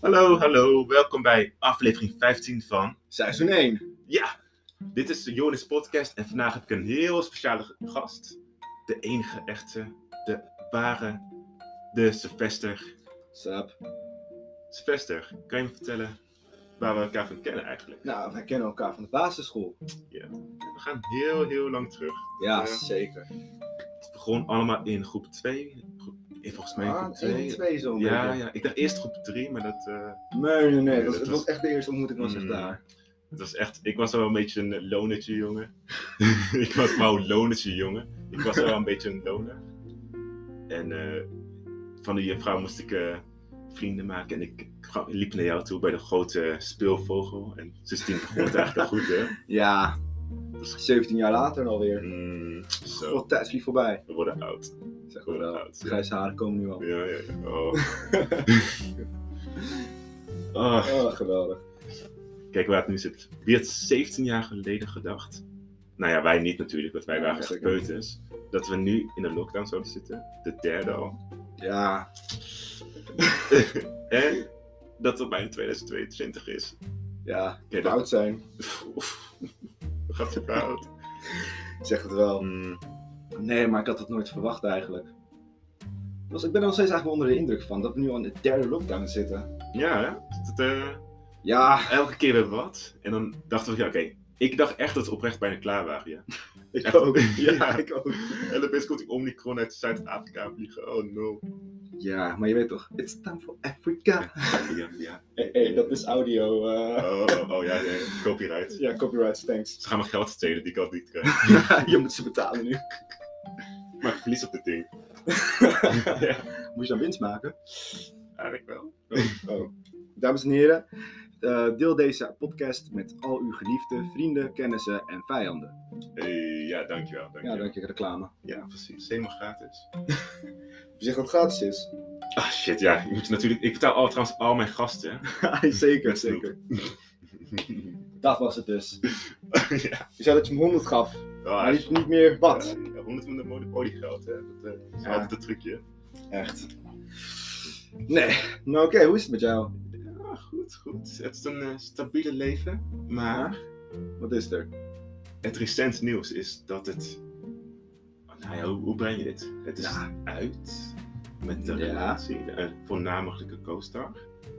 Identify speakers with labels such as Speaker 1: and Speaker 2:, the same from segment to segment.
Speaker 1: Hallo, hallo. Welkom bij aflevering 15 van...
Speaker 2: Seizoen 1.
Speaker 1: Ja, dit is de Jonis Podcast en vandaag heb ik een heel speciale gast. De enige echte, de ware, de Sylvester.
Speaker 2: Sup.
Speaker 1: Sylvester, kan je me vertellen waar we elkaar van kennen eigenlijk?
Speaker 2: Nou, wij kennen elkaar van de basisschool.
Speaker 1: We gaan heel, heel lang terug.
Speaker 2: Ja,
Speaker 1: Ja.
Speaker 2: zeker.
Speaker 1: Het begon allemaal in groep 2. Groep, eh, volgens mij in
Speaker 2: Ah,
Speaker 1: groep
Speaker 2: 1 en
Speaker 1: 2.
Speaker 2: 2 zo'n
Speaker 1: Ja,
Speaker 2: beetje.
Speaker 1: ja, ik dacht eerst groep 3, maar dat, eh,
Speaker 2: Nee, nee, nee.
Speaker 1: Nee,
Speaker 2: Dat, was-
Speaker 1: dat
Speaker 2: het
Speaker 1: was-
Speaker 2: was echt de eerste ontmoeting was echt
Speaker 1: Mm.
Speaker 2: daar.
Speaker 1: dat was echt... Ik was wel een beetje een lonertje, jongen. ik was wel een lonertje, jongen. Ik was wel een beetje een loner. En eh, van die vrouw moest ik eh, vrienden maken. En ik ga- liep naar jou toe bij de grote speelvogel. En sindsdien begon het eigenlijk wel goed, hè?
Speaker 2: Ja. 17 jaar later alweer.
Speaker 1: Mm, zo,
Speaker 2: Wat tijd vliegt voorbij.
Speaker 1: we worden oud.
Speaker 2: Zeg maar
Speaker 1: Worden
Speaker 2: wel.
Speaker 1: oud.
Speaker 2: Grijze haren komen nu al.
Speaker 1: Ja, ja, ja. Oh. Ah.
Speaker 2: Oh, geweldig.
Speaker 1: Kijk waar het nu zit. Wie had 17 jaar geleden gedacht? Nou ja, wij niet natuurlijk, want wij
Speaker 2: Ja,
Speaker 1: waren
Speaker 2: zeker niet.
Speaker 1: gepeuters. Dat we nu in de lockdown zouden zitten. De derde al.
Speaker 2: Ja.
Speaker 1: en dat het bijna 2022 is.
Speaker 2: Ja.
Speaker 1: Ja, dat-
Speaker 2: Oud zijn.
Speaker 1: Oef. Gaat super oud.
Speaker 2: Ik Zeg het wel.
Speaker 1: Mm,
Speaker 2: Nee, maar ik had het nooit verwacht eigenlijk. Dus ik ben er nog steeds eigenlijk onder de indruk van dat we nu al in de derde lockdown zitten.
Speaker 1: ja, hè? Dat, eh,
Speaker 2: Ja,
Speaker 1: elke keer weer wat. En dan dachten we, ja, oké. Ik dacht echt dat we oprecht bijna klaar waren, ja.
Speaker 2: ik
Speaker 1: Echt?
Speaker 2: ook.
Speaker 1: Ja.
Speaker 2: ja, ik ook.
Speaker 1: En opeens komt die Omicron uit Zuid-Afrika vliegen. Oh no.
Speaker 2: Ja, maar je weet toch, it's time for Africa.
Speaker 1: Ja, ja.
Speaker 2: Hé, hey, dat is audio. eh.
Speaker 1: Oh, oh, oh ja, ja, ja. copyright.
Speaker 2: Ja, copyright, thanks.
Speaker 1: Ze gaan me geld stelen die ik al niet eh. krijg.
Speaker 2: je moet ze betalen nu.
Speaker 1: Maar ik verlies op dit ding. ja,
Speaker 2: Moet je dan winst maken?
Speaker 1: eigenlijk wel.
Speaker 2: Oh. Dames en heren, eh, deel deze podcast met al uw geliefden, vrienden, kennissen en vijanden.
Speaker 1: Eh, ja, dankjewel.
Speaker 2: Ja,
Speaker 1: dankjewel.
Speaker 2: dank je reclame.
Speaker 1: Ja, precies. Helemaal gratis.
Speaker 2: Je zegt dat het gratis is.
Speaker 1: Ah, shit, ja. Je moet natuurlijk... Ik betaal al, trouwens al mijn gasten.
Speaker 2: zeker,
Speaker 1: Met snoep.
Speaker 2: zeker. Dat was het dus.
Speaker 1: ja.
Speaker 2: Je zei dat je hem 100 gaf,
Speaker 1: Oh,
Speaker 2: maar niet, niet meer wat.
Speaker 1: Ja, 100 van de monopolie geld, hè. Dat eh, is
Speaker 2: Ja.
Speaker 1: altijd een trucje.
Speaker 2: Echt. Nee. Nou oké, hoe is het met jou?
Speaker 1: Ja, goed, goed. Het is een eh, stabiele leven. Maar
Speaker 2: Wat is er?
Speaker 1: het recent nieuws is dat het... Nou ja, hoe, hoe breng je dit? Het is
Speaker 2: Ja.
Speaker 1: uit met de
Speaker 2: Ja.
Speaker 1: relatie. De, eh, voornamelijke co-star.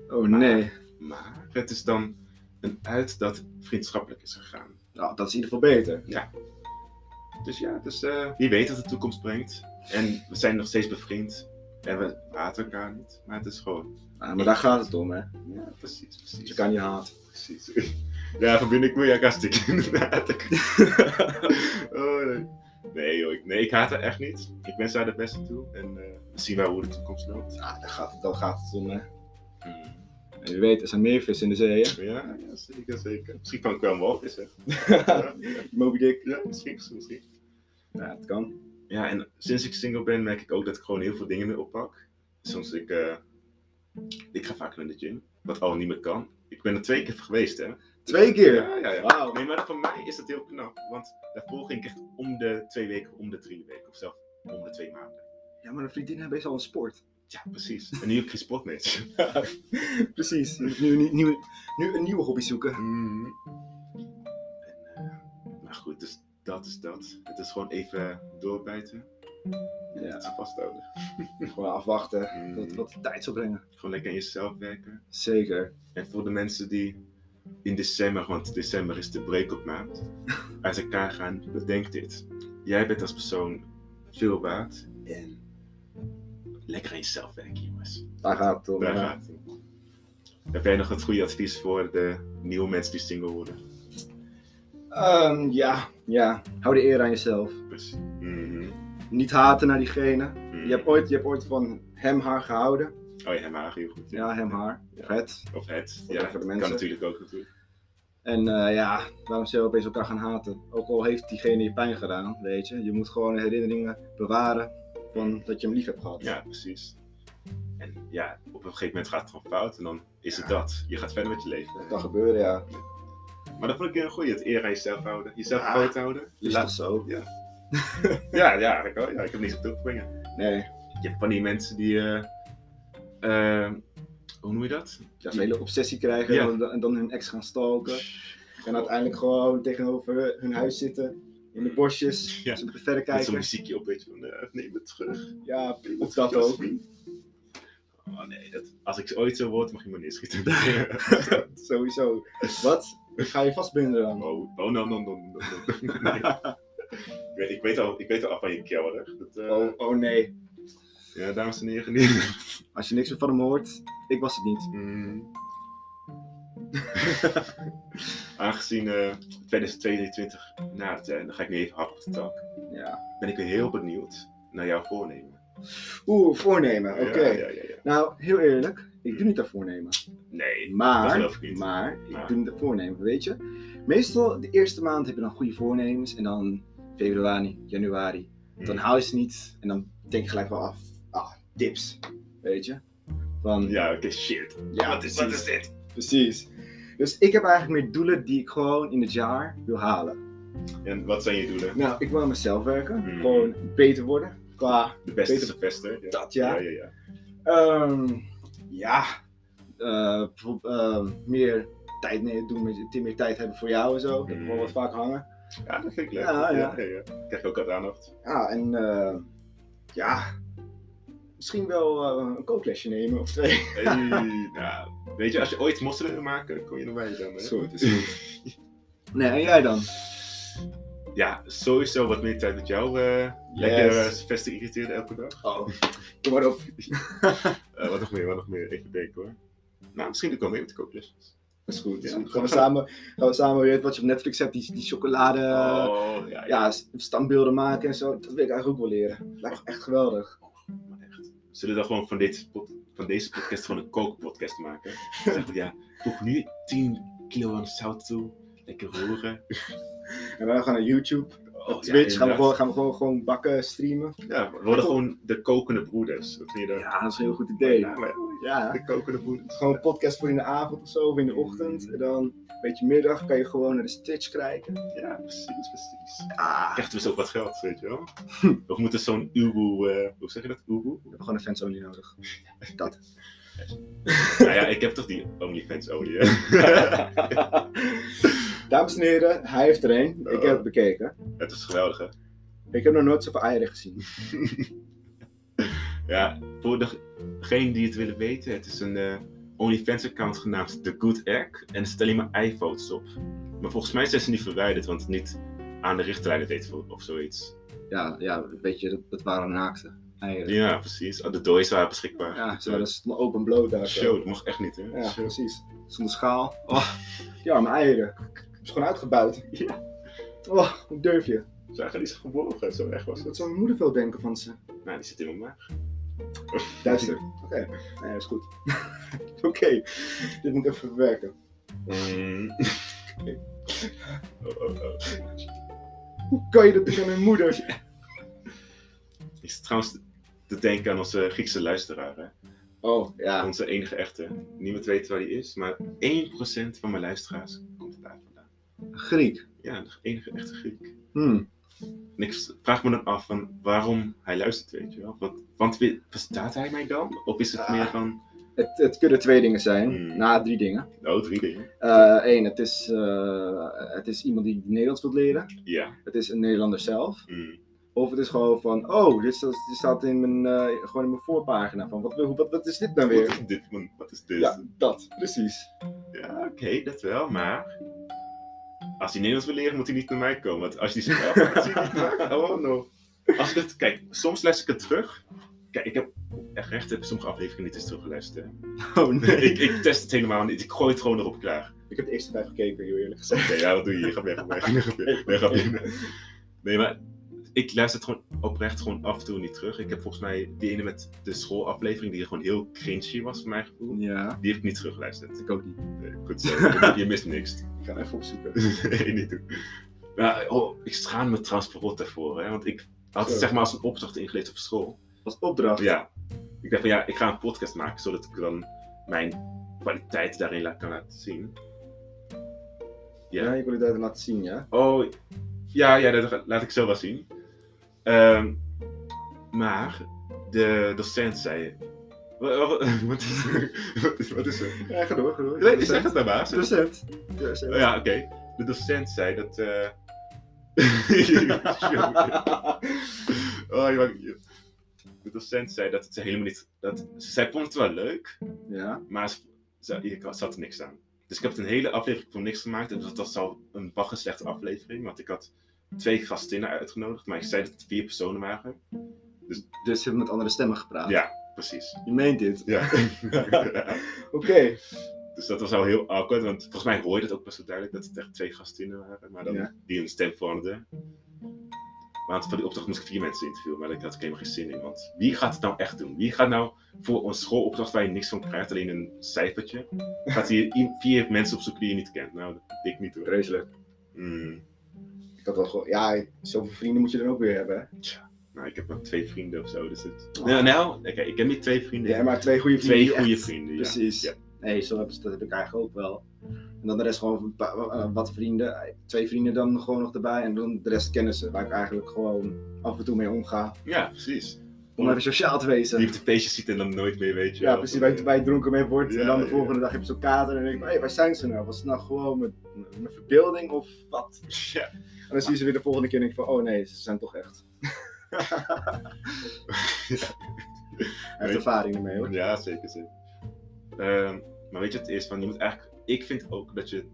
Speaker 2: Oh
Speaker 1: Maar-
Speaker 2: nee.
Speaker 1: Maar het is dan een uit dat vriendschappelijk is gegaan.
Speaker 2: Nou, dat is in ieder geval beter.
Speaker 1: Dus ja, dus, eh, wie weet wat de toekomst brengt. En we zijn nog steeds bevriend. En we haten elkaar niet. Maar het is gewoon.
Speaker 2: Ah, maar daar gaat het om, hè. Dus
Speaker 1: Ja, precies, precies.
Speaker 2: Je kan je haat.
Speaker 1: Precies. Ja, verbind ik me. Ja, kastik. Inderdaad. oh, nee. Nee, joh, ik, nee, ik haat haar echt niet. Ik wens haar de beste toe. En eh, we zien wel hoe de toekomst loopt.
Speaker 2: Ah, daar gaat het, daar gaat het om, hè. En wie weet, er zijn meer vissen in de zee, hè.
Speaker 1: Ja, ja, zeker, zeker. Misschien kan ik wel een walvis, hè? Ja, ja,
Speaker 2: Moby Dick.
Speaker 1: ja, misschien, misschien, misschien.
Speaker 2: Ja, het kan.
Speaker 1: Ja, en sinds ik single ben merk ik ook dat ik gewoon heel veel dingen meer oppak. Soms ik, eh, ik ga vaak naar de gym, wat al niet meer kan. Ik ben er twee keer geweest, hè?
Speaker 2: Twee keer?
Speaker 1: Ja, ja, ja.
Speaker 2: Wauw.
Speaker 1: Oh, Nee, maar voor mij is dat heel knap, want daarvoor ging ik echt om de twee weken, om de drie weken, of zelfs om de twee maanden.
Speaker 2: Ja, maar een vriendin hebben is al een sport.
Speaker 1: Ja, precies. En nu heb ik geen sport meer.
Speaker 2: Precies. Je moet nu, een nieuwe- nu een nieuwe hobby zoeken.
Speaker 1: Mhm. En, eh, maar goed, dus dat is dat. Het is gewoon even doorbijten. en
Speaker 2: Ja.
Speaker 1: Het vasthouden.
Speaker 2: Gewoon afwachten.
Speaker 1: Mhm.
Speaker 2: Dat wat de tijd zal brengen.
Speaker 1: Gewoon lekker aan jezelf werken.
Speaker 2: Zeker.
Speaker 1: En voor de mensen die in december, want december is de break-up maand, uit elkaar gaan, bedenk dit. Jij bent als persoon veel waard en lekker aan jezelf werken, jongens.
Speaker 2: Daar gaat het om.
Speaker 1: Daar
Speaker 2: hè.
Speaker 1: gaat het. Heb jij nog het goede advies voor de nieuwe mensen die single worden?
Speaker 2: Ehm, ja. Ja. Hou de eer aan jezelf.
Speaker 1: Precies. Mhm.
Speaker 2: Niet haten naar diegene.
Speaker 1: Mhm.
Speaker 2: Je hebt ooit, je hebt ooit van hem, haar gehouden.
Speaker 1: Oh ja, hem haar, heel goed.
Speaker 2: Ja, hem, haar.
Speaker 1: Ja.
Speaker 2: Vet.
Speaker 1: Of het.
Speaker 2: Voor de
Speaker 1: Ja, dat kan
Speaker 2: mensen.
Speaker 1: natuurlijk ook natuurlijk.
Speaker 2: En eh, ja, waarom zou je opeens elkaar gaan haten? Ook al heeft diegene je pijn gedaan, weet je. Je moet gewoon herinneringen bewaren van dat je hem lief hebt gehad.
Speaker 1: Ja, precies. En ja, op een gegeven moment gaat het gewoon fout en dan is het
Speaker 2: Ja.
Speaker 1: dat. Je gaat verder met je leven.
Speaker 2: Dat kan gebeuren, ja.
Speaker 1: Maar dat vond ik een goeie, het eer aan jezelf houden. Jezelf
Speaker 2: Ja. Dus
Speaker 1: groot houden.
Speaker 2: Is
Speaker 1: La-
Speaker 2: toch zo?
Speaker 1: Ja, ja, eigenlijk wel. Ja, ik heb niks op toe te brengen.
Speaker 2: Nee.
Speaker 1: Je hebt van die mensen die eh, eh, hoe noem je dat?
Speaker 2: Ja, een hele obsessie krijgen
Speaker 1: Ja.
Speaker 2: en dan- en dan hun ex gaan stalken. En uiteindelijk gewoon tegenover hun huis zitten. In de bosjes,
Speaker 1: Ja.
Speaker 2: ze moeten verder
Speaker 1: Met zo'n
Speaker 2: kijken.
Speaker 1: muziekje op, weet je, van eh, neem het terug.
Speaker 2: Ja,
Speaker 1: neem het
Speaker 2: of dat
Speaker 1: terug,
Speaker 2: ook.
Speaker 1: vriend. Oh nee, dat, als ik ooit zo word, mag je me neerschieten.
Speaker 2: Sowieso. Wat? Ik ga je vastbinden dan.
Speaker 1: oh, oh, no, no, no, no, no. Nee. Ik weet- Ik weet al, ik weet al af van je kelder. Dat, eh,
Speaker 2: Oh, oh nee.
Speaker 1: Ja, dames en heren. niet.
Speaker 2: Als je niks meer van hem hoort, ik was het niet.
Speaker 1: Mm. Aangezien eh 2022 nadert, en eh, dan ga ik nu even hard op de tak,
Speaker 2: Ja.
Speaker 1: ben ik weer heel benieuwd naar jouw voornemen.
Speaker 2: Oeh, voornemen. Oké.
Speaker 1: Ja, ja, ja, ja.
Speaker 2: Nou, heel eerlijk, ik doe niet dat voornemen.
Speaker 1: Nee, dat
Speaker 2: Maar,
Speaker 1: geloof ik niet.
Speaker 2: maar,
Speaker 1: Maar.
Speaker 2: ik doe het voornemen, weet je. Meestal, de eerste maand heb je dan goede voornemens. En dan februari, januari.
Speaker 1: Hmm. Mm.
Speaker 2: Dan hou je ze niet. En dan denk je gelijk wel af. Ah, dips. Weet je. Van,
Speaker 1: Ja, oké, shit.
Speaker 2: ja,
Speaker 1: wat, is, wat is dit?
Speaker 2: Precies. Dus ik heb eigenlijk meer doelen die ik gewoon in het jaar wil halen.
Speaker 1: En wat zijn je doelen?
Speaker 2: Nou, ik wil aan mezelf werken.
Speaker 1: Mm.
Speaker 2: Gewoon beter worden. Qua
Speaker 1: De beste
Speaker 2: Beter-
Speaker 1: is de beste. Ja.
Speaker 2: dat, ja.
Speaker 1: Ja, ja, ja.
Speaker 2: Ehm, ja. Eh, bijvoorbeeld, ehm, meer tijd nee, doen, met- meer tijd hebben voor jou en zo. Dat
Speaker 1: Mm.
Speaker 2: gewoon wat vaak hangen.
Speaker 1: Ja, dat vind ik leuk.
Speaker 2: Ja, ja.
Speaker 1: Krijg ik ook uit aandacht.
Speaker 2: Ja, en eh, ja. Misschien wel eh, een kooklesje nemen of twee.
Speaker 1: Hey, nou, weet je, als je ooit mosselen wil maken, kom je erbij dan. Hè?
Speaker 2: Goed, is Nee, en jij dan?
Speaker 1: Ja, sowieso wat meer tijd met jou. eh, Lekker eh,
Speaker 2: Yes.
Speaker 1: Sylvester irriteerde elke dag.
Speaker 2: Oh, kom maar op.
Speaker 1: Eh, wat nog meer, wat nog meer? Even denken hoor. Nou, misschien doe ik wel mee met de kooklesjes.
Speaker 2: Dat is goed.
Speaker 1: Ja.
Speaker 2: Gaan, we samen, gaan we samen weer wat je op Netflix hebt, die, die chocolade.
Speaker 1: oh, ja, ja.
Speaker 2: ja, s- standbeelden maken en zo. Dat wil ik eigenlijk ook wel leren. Lijkt me echt geweldig.
Speaker 1: Maar echt. Zullen we dan gewoon van, dit pod- van deze podcast gewoon een kookpodcast maken? Zeg, ja, voeg nu 10 kilo aan zout toe. Lekker roeren.
Speaker 2: En dan gaan we naar YouTube,
Speaker 1: Oh,
Speaker 2: op Twitch.
Speaker 1: ja,
Speaker 2: gaan we,
Speaker 1: inderdaad.
Speaker 2: gewoon, gaan we gewoon, gewoon bakken, streamen.
Speaker 1: Ja, we worden gewoon de kokende broeders. Wat vind je daar?
Speaker 2: Ja, dat is een heel goed idee.
Speaker 1: Ja, maar-
Speaker 2: Ja.
Speaker 1: de kokende broeders.
Speaker 2: Gewoon een podcast voor in de avond of zo, of in de ochtend. En dan een beetje middag kan je gewoon naar de Twitch kijken.
Speaker 1: Ja, precies, precies.
Speaker 2: Ah,
Speaker 1: Krijgt dus ook wat geld, weet je wel? Of moet er zo'n ubu, eh, hoe zeg je dat? Ubu?
Speaker 2: we hebben gewoon een fans-only nodig. Dat.
Speaker 1: Nou ja, ik heb toch die OnlyFans olie. hè?
Speaker 2: Dames en heren, hij heeft er een. Ik heb het bekeken.
Speaker 1: Het is geweldig, hè?
Speaker 2: Ik heb nog nooit zoveel eieren gezien.
Speaker 1: Ja, voor degenen die het willen weten, het is een eh, OnlyFans-account genaamd The Good Egg. En er zitten alleen maar iPhones op. Maar volgens mij zijn ze niet verwijderd, want het niet aan de richtlijnen deed voor- of zoiets.
Speaker 2: Ja, ja weet je, dat, dat waren naakte eieren.
Speaker 1: Ja, precies. Oh, de dooi's waren beschikbaar.
Speaker 2: Ja, zo, dat is open bloot daar. zo.
Speaker 1: Show, dat mocht echt niet, hè?
Speaker 2: Ja,
Speaker 1: Show.
Speaker 2: precies. Zonder schaal. Oh, ja, mijn eieren. Is gewoon uitgebuit.
Speaker 1: Ja.
Speaker 2: Oh, hoe durf je?
Speaker 1: Ze waren niet zo geboren, zo erg was
Speaker 2: Wat
Speaker 1: het.
Speaker 2: zou mijn moeder veel denken van ze?
Speaker 1: Nou, die zit in mijn maag.
Speaker 2: Duister. Oké, nee, dat is goed. Oké, dit moet ik even verwerken.
Speaker 1: Mm. oh, oh, oh.
Speaker 2: Hoe kan je dat doen aan mijn moeder?
Speaker 1: Ik zit trouwens te denken aan onze Griekse luisteraar, hè?
Speaker 2: Oh, ja.
Speaker 1: Onze enige echte. Niemand weet waar die is, maar 1% van mijn luisteraars komt daar vandaan.
Speaker 2: Griek.
Speaker 1: Ja, de enige echte Griek.
Speaker 2: Hmm.
Speaker 1: En ik vraag me dan af van waarom hij luistert, weet je wel. Want, want we- verstaat hij mij dan? Of is het
Speaker 2: Ah.
Speaker 1: meer van...
Speaker 2: Het, het kunnen twee dingen zijn.
Speaker 1: Hmm.
Speaker 2: Na drie dingen.
Speaker 1: Oh, drie dingen.
Speaker 2: Eén, het, is, eh, het is iemand die Nederlands wil leren.
Speaker 1: Ja.
Speaker 2: Het is een Nederlander zelf.
Speaker 1: Mm.
Speaker 2: Of het is gewoon van, oh, dit staat, dit staat in mijn, eh, gewoon in mijn voorpagina. Van, wat, wil- wat, wat is dit nou
Speaker 1: Wat
Speaker 2: weer?
Speaker 1: is dit? man? Wat is dit?
Speaker 2: Ja,
Speaker 1: Ja,
Speaker 2: dat. Precies.
Speaker 1: oké, dat wel, maar... Als hij Nederlands wil leren, moet hij niet naar mij komen. Want als hij zich afvraagt, oh no. Als ik het, kijk, soms luister ik het terug. Kijk, ik heb echt recht, heb sommige afleveringen niet eens teruggeluisterd. hè.
Speaker 2: Oh
Speaker 1: Nee, ik, ik test het helemaal niet. Ik gooi het gewoon erop klaar.
Speaker 2: Ik heb de eerste vijf gekeken, heel eerlijk
Speaker 1: Oké,
Speaker 2: gezegd.
Speaker 1: ja, wat doe je? Je gaat weg. ga weg. Nee, grapje. Nee, maar ik luister het gewoon oprecht gewoon af en toe niet terug. Ik heb volgens mij die ene met de schoolaflevering die gewoon heel cringy was voor mijn gevoel.
Speaker 2: Ja,
Speaker 1: Die heb ik niet teruggeluisterd.
Speaker 2: ik ook niet.
Speaker 1: Nee, goed zo. Je- Je mist niks.
Speaker 2: Ik ga hem even opzoeken.
Speaker 1: Nee, niet doen. Maar oh, ik schaam me trouwens verrot daarvoor. Hè? Want ik had het
Speaker 2: Zo.
Speaker 1: zeg maar als een opdracht ingelezen op school.
Speaker 2: Als opdracht.
Speaker 1: Ja. Ik dacht van ja, ik ga een podcast maken zodat ik dan mijn kwaliteit daarin la- kan laten zien. Ja.
Speaker 2: Ja, ik wil het even laten zien, ja.
Speaker 1: Oh, ja, ja dat ga- laat ik zo wel zien. Ehm, maar de docent zei: Wa- wa- wa- Wat is wat is- Wat is er?
Speaker 2: Ja, ga door, ga door.
Speaker 1: Nee, die zegt het daarnaast. Oh,
Speaker 2: Docent. Docent.
Speaker 1: ja, oké. De docent zei dat. eh oh, je maakt- je- De docent zei dat het ze helemaal niet. Dat, zij vond het wel leuk,
Speaker 2: ja.
Speaker 1: maar ze, ze, ik had- ze had er niks aan. Dus ik heb het een hele aflevering voor niks gemaakt. En dus dat was al een baggerslechte aflevering, want ik had twee gastinnen uitgenodigd, maar ik zei dat het vier personen waren.
Speaker 2: Dus ze hebben met andere stemmen gepraat.
Speaker 1: Ja. Precies.
Speaker 2: Je meent dit.
Speaker 1: Ja.
Speaker 2: Oké.
Speaker 1: Dus dat was al heel awkward, want volgens mij hoorde het ook best wel duidelijk dat het echt twee gastinnen waren, maar dan,
Speaker 2: Ja.
Speaker 1: die een stem veranderden. Want voor die opdracht moest ik vier mensen interviewen, maar daar had ik helemaal geen zin in. Want wie gaat het nou echt doen? Wie gaat nou voor een schoolopdracht waar je niks van krijgt, alleen een cijfertje, gaat hier i- vier mensen opzoeken die je niet kent? Nou, dat denk ik niet hoor.
Speaker 2: Vreselijk.
Speaker 1: Mm.
Speaker 2: Ik had wel gewoon... Ja, zoveel vrienden moet je dan ook weer hebben, hè?
Speaker 1: Nou, ik heb maar twee vrienden of zo, dus het... Nou, nou oké, ik heb niet twee vrienden.
Speaker 2: Oh. Ja, maar twee goede vrienden.
Speaker 1: twee
Speaker 2: die
Speaker 1: goede
Speaker 2: echt-
Speaker 1: vrienden, ja.
Speaker 2: Precies.
Speaker 1: Ja.
Speaker 2: Nee, zo heb, dat heb ik eigenlijk ook wel. En dan de rest gewoon een paar- eh, wat vrienden, eh, twee vrienden dan gewoon nog erbij. En dan de rest kennissen, waar ik eigenlijk gewoon af en toe mee omga.
Speaker 1: Ja, precies.
Speaker 2: Om even sociaal te wezen.
Speaker 1: Die op de feestjes ziet en dan nooit meer weet je.
Speaker 2: Ja,
Speaker 1: wel.
Speaker 2: precies, waar je, waar je dronken mee wordt. en
Speaker 1: eh, Ja,
Speaker 2: dan de
Speaker 1: ja,
Speaker 2: volgende dag heb je zo'n kater. En dan denk je, hé, waar zijn ze nou? Was het nou gewoon mijn, mijn verbeelding of wat?
Speaker 1: Ja.
Speaker 2: En dan zie je ze weer de volgende keer en denk ik van, oh nee, ze zijn toch echt. Hij heeft ervaring ermee hoor.
Speaker 1: Ja, zeker, zeker. Ehm, maar weet je wat het is? Van, je moet eigenlijk, ik vind ook dat je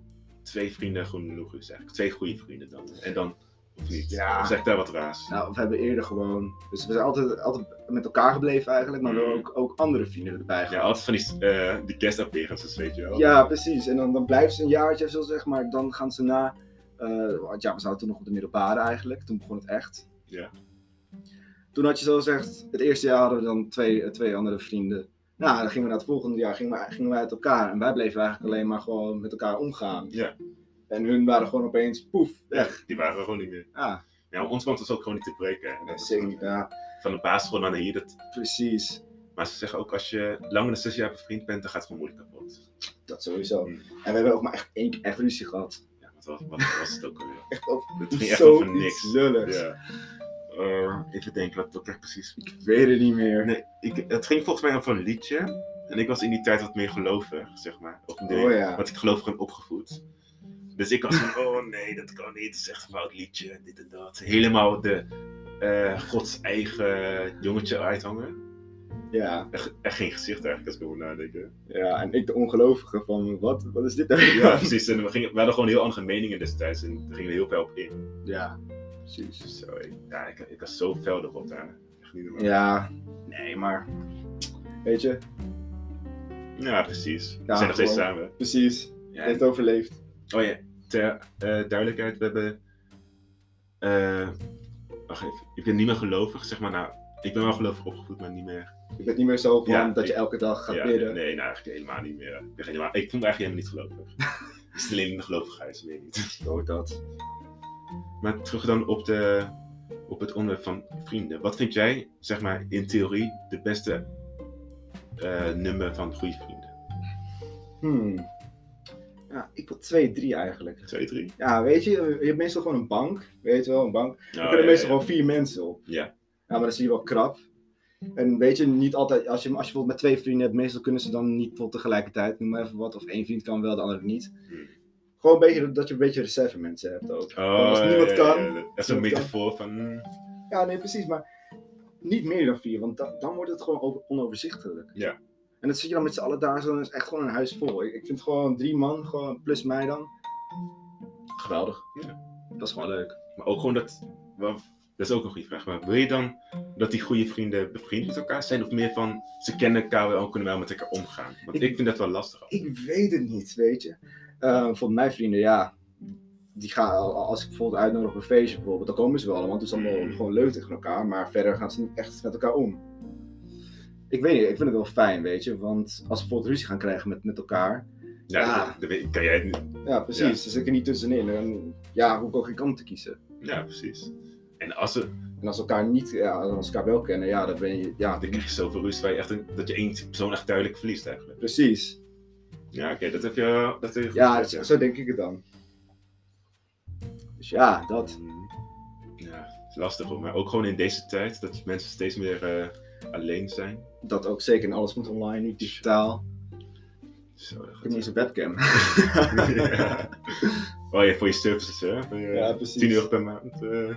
Speaker 1: twee vrienden genoeg is. Eigenlijk. Twee goede vrienden dan. En dan, of niet.
Speaker 2: Ja.
Speaker 1: Of zeg ik daar wat raars.
Speaker 2: Nou, we hebben eerder gewoon. Dus we zijn altijd, altijd met elkaar gebleven eigenlijk, maar we hebben ook, ook andere vrienden erbij
Speaker 1: Mm. Ja,
Speaker 2: gehad.
Speaker 1: altijd van die, eh die guest-appearances, weet je wel.
Speaker 2: Ja, precies. En dan, dan blijven ze een jaartje of zo, zeg maar. Dan gaan ze na. eh, want ja, we zaten toen nog op de middelbare eigenlijk. Toen begon het echt.
Speaker 1: Ja.
Speaker 2: Toen had je zo gezegd, het eerste jaar hadden we dan twee, eh, twee andere vrienden. Nou, dan gingen we naar het volgende jaar gingen we, gingen we uit elkaar. En wij bleven eigenlijk alleen maar gewoon met elkaar omgaan.
Speaker 1: Ja.
Speaker 2: En hun waren gewoon opeens poef, weg. Ah,
Speaker 1: Die waren er gewoon niet meer.
Speaker 2: Ja,
Speaker 1: Ja, ons band was ook gewoon niet te breken. En dat is
Speaker 2: zeker. Ja,
Speaker 1: Van de basisschool naar hier. Dat...
Speaker 2: precies.
Speaker 1: Maar ze zeggen ook, als je langer dan zes jaar bevriend bent, dan gaat het gewoon moeilijk kapot.
Speaker 2: Dat sowieso.
Speaker 1: Mm.
Speaker 2: En we hebben ook maar echt één keer echt ruzie gehad.
Speaker 1: Ja, wat, was- wat was het ook alweer?
Speaker 2: Echt over
Speaker 1: Het ging echt
Speaker 2: zoiets
Speaker 1: over niks.
Speaker 2: lulligs.
Speaker 1: Ja. Eh, even denken, wat dat echt precies
Speaker 2: Ik weet het niet meer.
Speaker 1: Nee, ik, het ging volgens mij over een liedje. En ik was in die tijd wat meer gelovig, zeg maar. Of nee,
Speaker 2: Oh ja.
Speaker 1: Want ik geloof gewoon opgevoed. Dus ik was van, oh nee, dat kan niet. Het is echt een fout liedje, en dit en dat. Helemaal de eh, Gods eigen jongetje uithangen.
Speaker 2: Ja.
Speaker 1: Echt, echt geen gezicht eigenlijk, als ik erover nadenken.
Speaker 2: Ja, en ik de ongelovige van wat, wat is dit nou?
Speaker 1: Ja, precies. En we, gingen, we hadden gewoon heel andere meningen destijds. En daar gingen we heel veel op in.
Speaker 2: Ja, precies.
Speaker 1: Dus zo, ik- ja, ik, ik was zo fel erop daar. Echt niet normaal.
Speaker 2: Ja, nee, maar weet je,
Speaker 1: Ja, precies. we
Speaker 2: Ja,
Speaker 1: zijn nog steeds
Speaker 2: gewoon.
Speaker 1: samen.
Speaker 2: precies, je
Speaker 1: Ja,
Speaker 2: heeft overleefd.
Speaker 1: Oh ja, ter eh, duidelijkheid, we hebben. eh, wacht even, ik ben niet meer gelovig, zeg maar. Nou, ik ben wel gelovig opgevoed, maar niet meer.
Speaker 2: Je bent niet meer zo van
Speaker 1: Ja,
Speaker 2: dat je
Speaker 1: ik-
Speaker 2: elke dag gaat
Speaker 1: Ja, nee,
Speaker 2: bidden.
Speaker 1: nee, nou eigenlijk helemaal niet meer. Ik, ben helemaal, ik vond me eigenlijk helemaal niet gelovig. Het is alleen de gelovigheid, weet ik niet.
Speaker 2: Zo dat.
Speaker 1: Maar terug dan op, de, op het onderwerp van vrienden. Wat vind jij, zeg maar, in theorie de beste eh, nummer van goede vrienden?
Speaker 2: Hmm. Ja, ik wil twee, drie eigenlijk.
Speaker 1: Twee, drie?
Speaker 2: Ja, weet je, je hebt meestal gewoon een bank, weet je wel, een bank.
Speaker 1: Nou,
Speaker 2: Er kunnen
Speaker 1: ja,
Speaker 2: meestal
Speaker 1: ja.
Speaker 2: gewoon vier mensen op.
Speaker 1: Ja.
Speaker 2: Ja, maar dat zie je wel krap. En weet je, niet altijd, als je, als je bijvoorbeeld met twee vrienden hebt, meestal kunnen ze dan niet tot tegelijkertijd, noem maar even wat. Of één vriend kan wel, de andere niet.
Speaker 1: Hmm.
Speaker 2: Gewoon een beetje, dat je een beetje reserve mensen hebt ook.
Speaker 1: Oh,
Speaker 2: als niemand
Speaker 1: ja, ja,
Speaker 2: kan,
Speaker 1: ja. Dat is een
Speaker 2: niemand kan.
Speaker 1: metafoor van. mm,
Speaker 2: Ja, nee, precies, maar niet meer dan vier, want da- dan wordt het gewoon over- onoverzichtelijk.
Speaker 1: Ja.
Speaker 2: En dat zit je dan met z'n allen daar, zo, dan is echt gewoon een huis vol. Ik, ik vind gewoon drie man, gewoon plus mij dan. Geweldig.
Speaker 1: Ja.
Speaker 2: Dat is gewoon leuk.
Speaker 1: Maar ook gewoon dat. wel, dat is ook een goede vraag. Maar wil je dan dat die goede vrienden bevriend met elkaar zijn? Of meer van ze kennen elkaar wel en kunnen wel met elkaar omgaan? Want ik,
Speaker 2: Ik-
Speaker 1: vind dat wel lastig.
Speaker 2: Ik weet het niet, weet je. Eh voor mijn vrienden, ja. Die gaan, al- al- als ik bijvoorbeeld uitnodig op een feestje, bijvoorbeeld, dan komen ze wel allemaal. Het is allemaal
Speaker 1: Mm.
Speaker 2: gewoon leuk tegen elkaar, maar verder gaan ze niet echt met elkaar om. Ik weet niet, ik vind het wel fijn, weet je. Want als ze bijvoorbeeld ruzie gaan krijgen met, met elkaar,
Speaker 1: Ja,
Speaker 2: Ja.
Speaker 1: Dat, dat weet- kan jij niet.
Speaker 2: Ja, precies.
Speaker 1: Ja.
Speaker 2: Dus ik er niet tussenin. En ja, hoe ook geen kant te kiezen.
Speaker 1: Ja, precies. En als ze,
Speaker 2: En als ze elkaar niet, ja, als ze elkaar wel kennen, ja, dan ben je, ja,
Speaker 1: dan krijg je zoveel rust waar je echt een- dat je één persoon echt duidelijk verliest eigenlijk.
Speaker 2: precies.
Speaker 1: Ja, oké, dat heb je wel- dat heb je goed
Speaker 2: Ja,
Speaker 1: gezegd,
Speaker 2: zo, zo denk ik het dan. Dus ja, dat.
Speaker 1: Mhm. Ja, het is lastig hoor. Maar ook gewoon in deze tijd dat mensen steeds meer eh, alleen zijn.
Speaker 2: Dat ook zeker. En alles moet online, nu digitaal.
Speaker 1: Zo, dat
Speaker 2: Ik
Speaker 1: gaat
Speaker 2: heb niet eens een webcam.
Speaker 1: ja. Oh ja, voor je services, hè? Voor je
Speaker 2: Ja, precies.
Speaker 1: 10 euro per maand. eh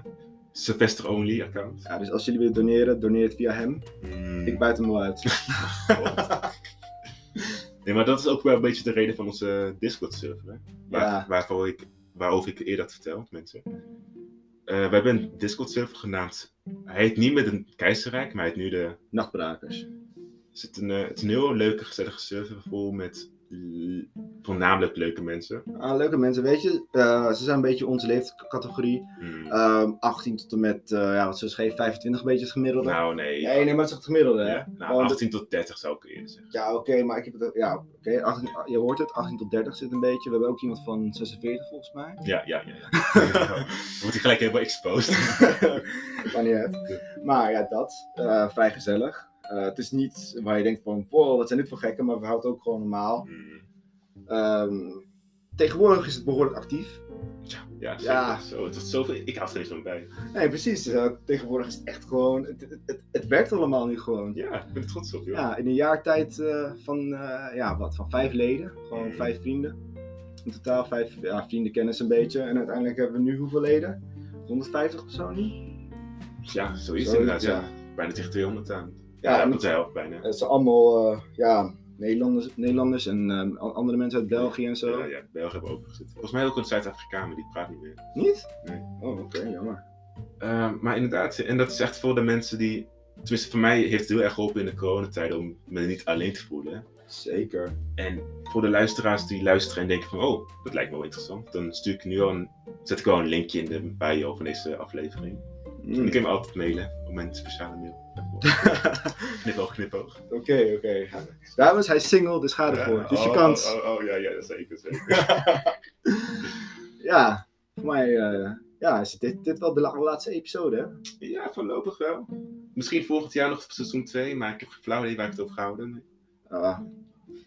Speaker 1: Sylvester Only account.
Speaker 2: Ja, dus als jullie willen doneren, doneer het via hem.
Speaker 1: Mm.
Speaker 2: Ik buit hem wel uit.
Speaker 1: Nee, maar dat is ook wel een beetje de reden van onze Discord-server. hè. Waar,
Speaker 2: Ja.
Speaker 1: waarvoor ik, waarover ik eerder had verteld, mensen. Eh, we hebben een Discord-server genaamd. Hij heet niet met een keizerrijk, maar hij heet nu de.
Speaker 2: Nachtbrakers.
Speaker 1: is het, een, eh, het is een heel leuke, gezellige server vol met l- voornamelijk leuke mensen.
Speaker 2: Ah, leuke mensen, weet je. eh, ze zijn een beetje onze leeftijdscategorie.
Speaker 1: Hmm.
Speaker 2: Ehm, 18 tot en met, eh, ja, wat zullen we schrijven, 25 een beetje het gemiddelde.
Speaker 1: nou, nee.
Speaker 2: nee, nee, maar het is echt het gemiddelde, hè?
Speaker 1: Ja, nou,
Speaker 2: Want-
Speaker 1: 18 tot 30 zou ik eerder zeggen.
Speaker 2: Ja, oké, maar ik heb het. Ja, oké. 18 je hoort het, 18 tot 30 zit een beetje. We hebben ook iemand van 46 volgens mij.
Speaker 1: Ja, ja, ja. ja. Wordt hij gelijk helemaal exposed.
Speaker 2: maar niet uit. Maar ja, dat. eh, vrij gezellig. Eh, het is niet waar je denkt van, wow, wat zijn dit voor gekken, maar we houden het ook gewoon normaal.
Speaker 1: Hmm.
Speaker 2: Ehm, tegenwoordig is het behoorlijk actief.
Speaker 1: Ja, zo,
Speaker 2: Ja.
Speaker 1: Zo, tot zoveel, ik had er eens van bij.
Speaker 2: Nee, precies. eh, tegenwoordig is het echt gewoon, het, het, het, het werkt allemaal nu gewoon.
Speaker 1: Ja, ik ben er trots op, joh.
Speaker 2: Ja, in een jaar tijd eh, van, eh, ja, wat, van vijf leden, gewoon
Speaker 1: Mm.
Speaker 2: vijf vrienden. In totaal vijf ja, vrienden kennis een beetje. En uiteindelijk hebben we nu hoeveel leden? 150 of zo nu?
Speaker 1: Ja, zoiets
Speaker 2: Zoiets,
Speaker 1: inderdaad. Ja.
Speaker 2: ja.
Speaker 1: Bijna tegen 200 aan.
Speaker 2: Ja,
Speaker 1: Ja,
Speaker 2: en
Speaker 1: dat
Speaker 2: het-
Speaker 1: de helft bijna.
Speaker 2: Het zijn allemaal eh, ja, Nederlanders, Nederlanders en ehm, a- andere mensen uit België en zo.
Speaker 1: Ja, ja, België hebben ook gezet. Volgens mij ook een Zuid-Afrikanen, die praat niet meer.
Speaker 2: Niet?
Speaker 1: Nee.
Speaker 2: Oh, oké, jammer.
Speaker 1: Eh, maar inderdaad, en dat is echt voor de mensen die... Tenminste, voor mij heeft het heel erg geholpen in de coronatijd om me niet alleen te voelen.
Speaker 2: Zeker.
Speaker 1: En voor de luisteraars die luisteren en denken van... Oh, dat lijkt me wel interessant. Dan stuur ik nu al een... Zet ik wel een linkje in de bio van deze aflevering. En
Speaker 2: Mm.
Speaker 1: dan
Speaker 2: Oké,
Speaker 1: kun je me altijd mailen op mijn speciale mail. knipoog, knipoog.
Speaker 2: oké. ja. Dames, hij is single, dus ga ervoor.
Speaker 1: Ja,
Speaker 2: Dit is je
Speaker 1: oh,
Speaker 2: kans.
Speaker 1: Oh, oh, oh, ja, ja, zeker, zeker. oh.
Speaker 2: Ja, voor mij eh, ja, is dit, dit wel de la- laatste episode, hè?
Speaker 1: Ja, voorlopig wel. Misschien volgend jaar nog op seizoen 2, maar ik heb geen flauw idee waar ik het over ga houden.
Speaker 2: Ah,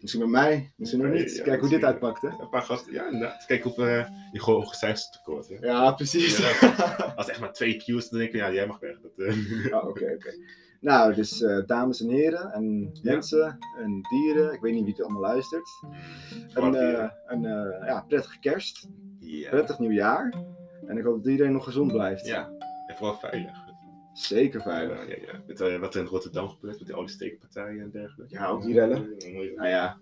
Speaker 2: misschien bij mij, misschien nog
Speaker 1: Nee,
Speaker 2: niet.
Speaker 1: ja,
Speaker 2: Kijk hoe
Speaker 1: misschien
Speaker 2: dit uitpakt, hè?
Speaker 1: Een paar gasten, ja, inderdaad. Kijk of eh, je gewoon ongecijferd tekort. Hè?
Speaker 2: Ja, precies.
Speaker 1: Ja. Als echt maar twee cues, dan denk ik, ja, jij mag weg. Dat, eh,
Speaker 2: Ah, Oké, oké. Nou, dus eh, dames en heren en
Speaker 1: Ja.
Speaker 2: mensen en dieren. Ik weet niet wie het allemaal luistert. Een,
Speaker 1: Wat hier.
Speaker 2: eh, een eh, ja, prettige kerst,
Speaker 1: ja.
Speaker 2: prettig nieuwjaar. En ik hoop dat iedereen nog gezond blijft.
Speaker 1: ja, en vooral veilig.
Speaker 2: Zeker
Speaker 1: Ja,
Speaker 2: veilig.
Speaker 1: ja, ja. Met, eh, wat er in Rotterdam gebeurt, met die al die steekpartijen en dergelijke.
Speaker 2: Ja, ook die rellen.
Speaker 1: Ja,
Speaker 2: Nou ja,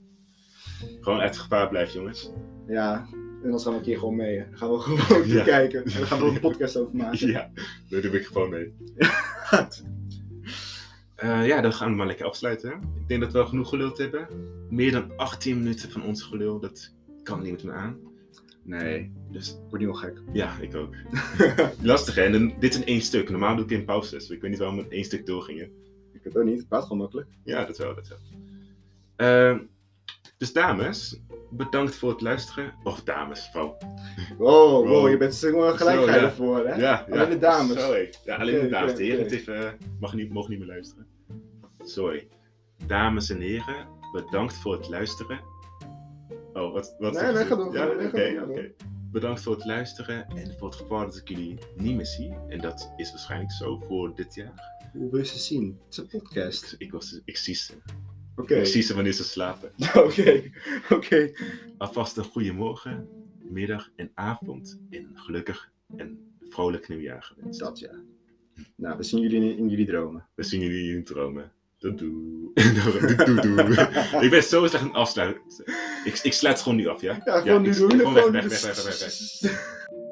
Speaker 1: Gewoon uit het gevaar blijven, jongens.
Speaker 2: ja. En dan gaan we een keer gewoon mee. hè. Dan gaan we gewoon
Speaker 1: Ja.
Speaker 2: kijken. En dan gaan we ook een podcast over maken.
Speaker 1: Ja, daar doe ik gewoon mee. Eh, ja, dan gaan we maar lekker afsluiten. hè. Ik denk dat we al genoeg geluld hebben. Meer dan 18 minuten van ons gelul, dat kan niemand meer aan.
Speaker 2: Nee,
Speaker 1: Dus
Speaker 2: ik word niet wel gek.
Speaker 1: ja, ik ook. Lastig hè, en dan- dit in één stuk. Normaal doe ik in pauzes. dus Ik weet niet waarom we in één stuk doorgingen.
Speaker 2: Ik weet het ook niet. Het praat gewoon makkelijk.
Speaker 1: Ja, dat wel, dat wel. Eh, dus dames, bedankt voor het luisteren. Of dames, vooral.
Speaker 2: Wow, wow,
Speaker 1: Wow.
Speaker 2: je bent single gelijk
Speaker 1: Zo,
Speaker 2: ga je
Speaker 1: ja.
Speaker 2: ervoor, hè?
Speaker 1: Ja,
Speaker 2: Alleen de dames.
Speaker 1: Zo, hé. ja, alleen
Speaker 2: Oké,
Speaker 1: de dames.
Speaker 2: oké,
Speaker 1: de heren
Speaker 2: oké.
Speaker 1: het heeft, eh, mag niet, mogen niet meer luisteren. Sorry. Dames en heren, bedankt voor het luisteren. Oh, wat? wat
Speaker 2: Nee,
Speaker 1: zeg
Speaker 2: wij
Speaker 1: je?
Speaker 2: gaan
Speaker 1: Ja,
Speaker 2: door, wij gaan
Speaker 1: oké,
Speaker 2: door, wij gaan
Speaker 1: oké. Bedankt voor het luisteren en voor het gevaar dat ik jullie niet meer zie. En dat is waarschijnlijk zo voor dit jaar. Dus
Speaker 2: Hoe wil je ze zien? Het is een podcast.
Speaker 1: Ik, ik, was, ik zie ze.
Speaker 2: Oké.
Speaker 1: Ik zie ze wanneer ze slapen.
Speaker 2: Oké, oké.
Speaker 1: Alvast een goede morgen, middag en avond. En een gelukkig en vrolijk nieuwjaar gewenst.
Speaker 2: Dat ja. Nou, we zien jullie in, in jullie dromen.
Speaker 1: We zien jullie in jullie dromen. Doei doei. Doei, doei, doei. Ik ben zo slecht aan het afsluiten. Ik, ik sluit het gewoon nu af, ja?
Speaker 2: Ja, gewoon
Speaker 1: ik-
Speaker 2: nu doen.
Speaker 1: Gewoon weg,
Speaker 2: gewoon dus-
Speaker 1: weg,
Speaker 2: nu
Speaker 1: weg,
Speaker 2: doen.
Speaker 1: weg, weg, weg.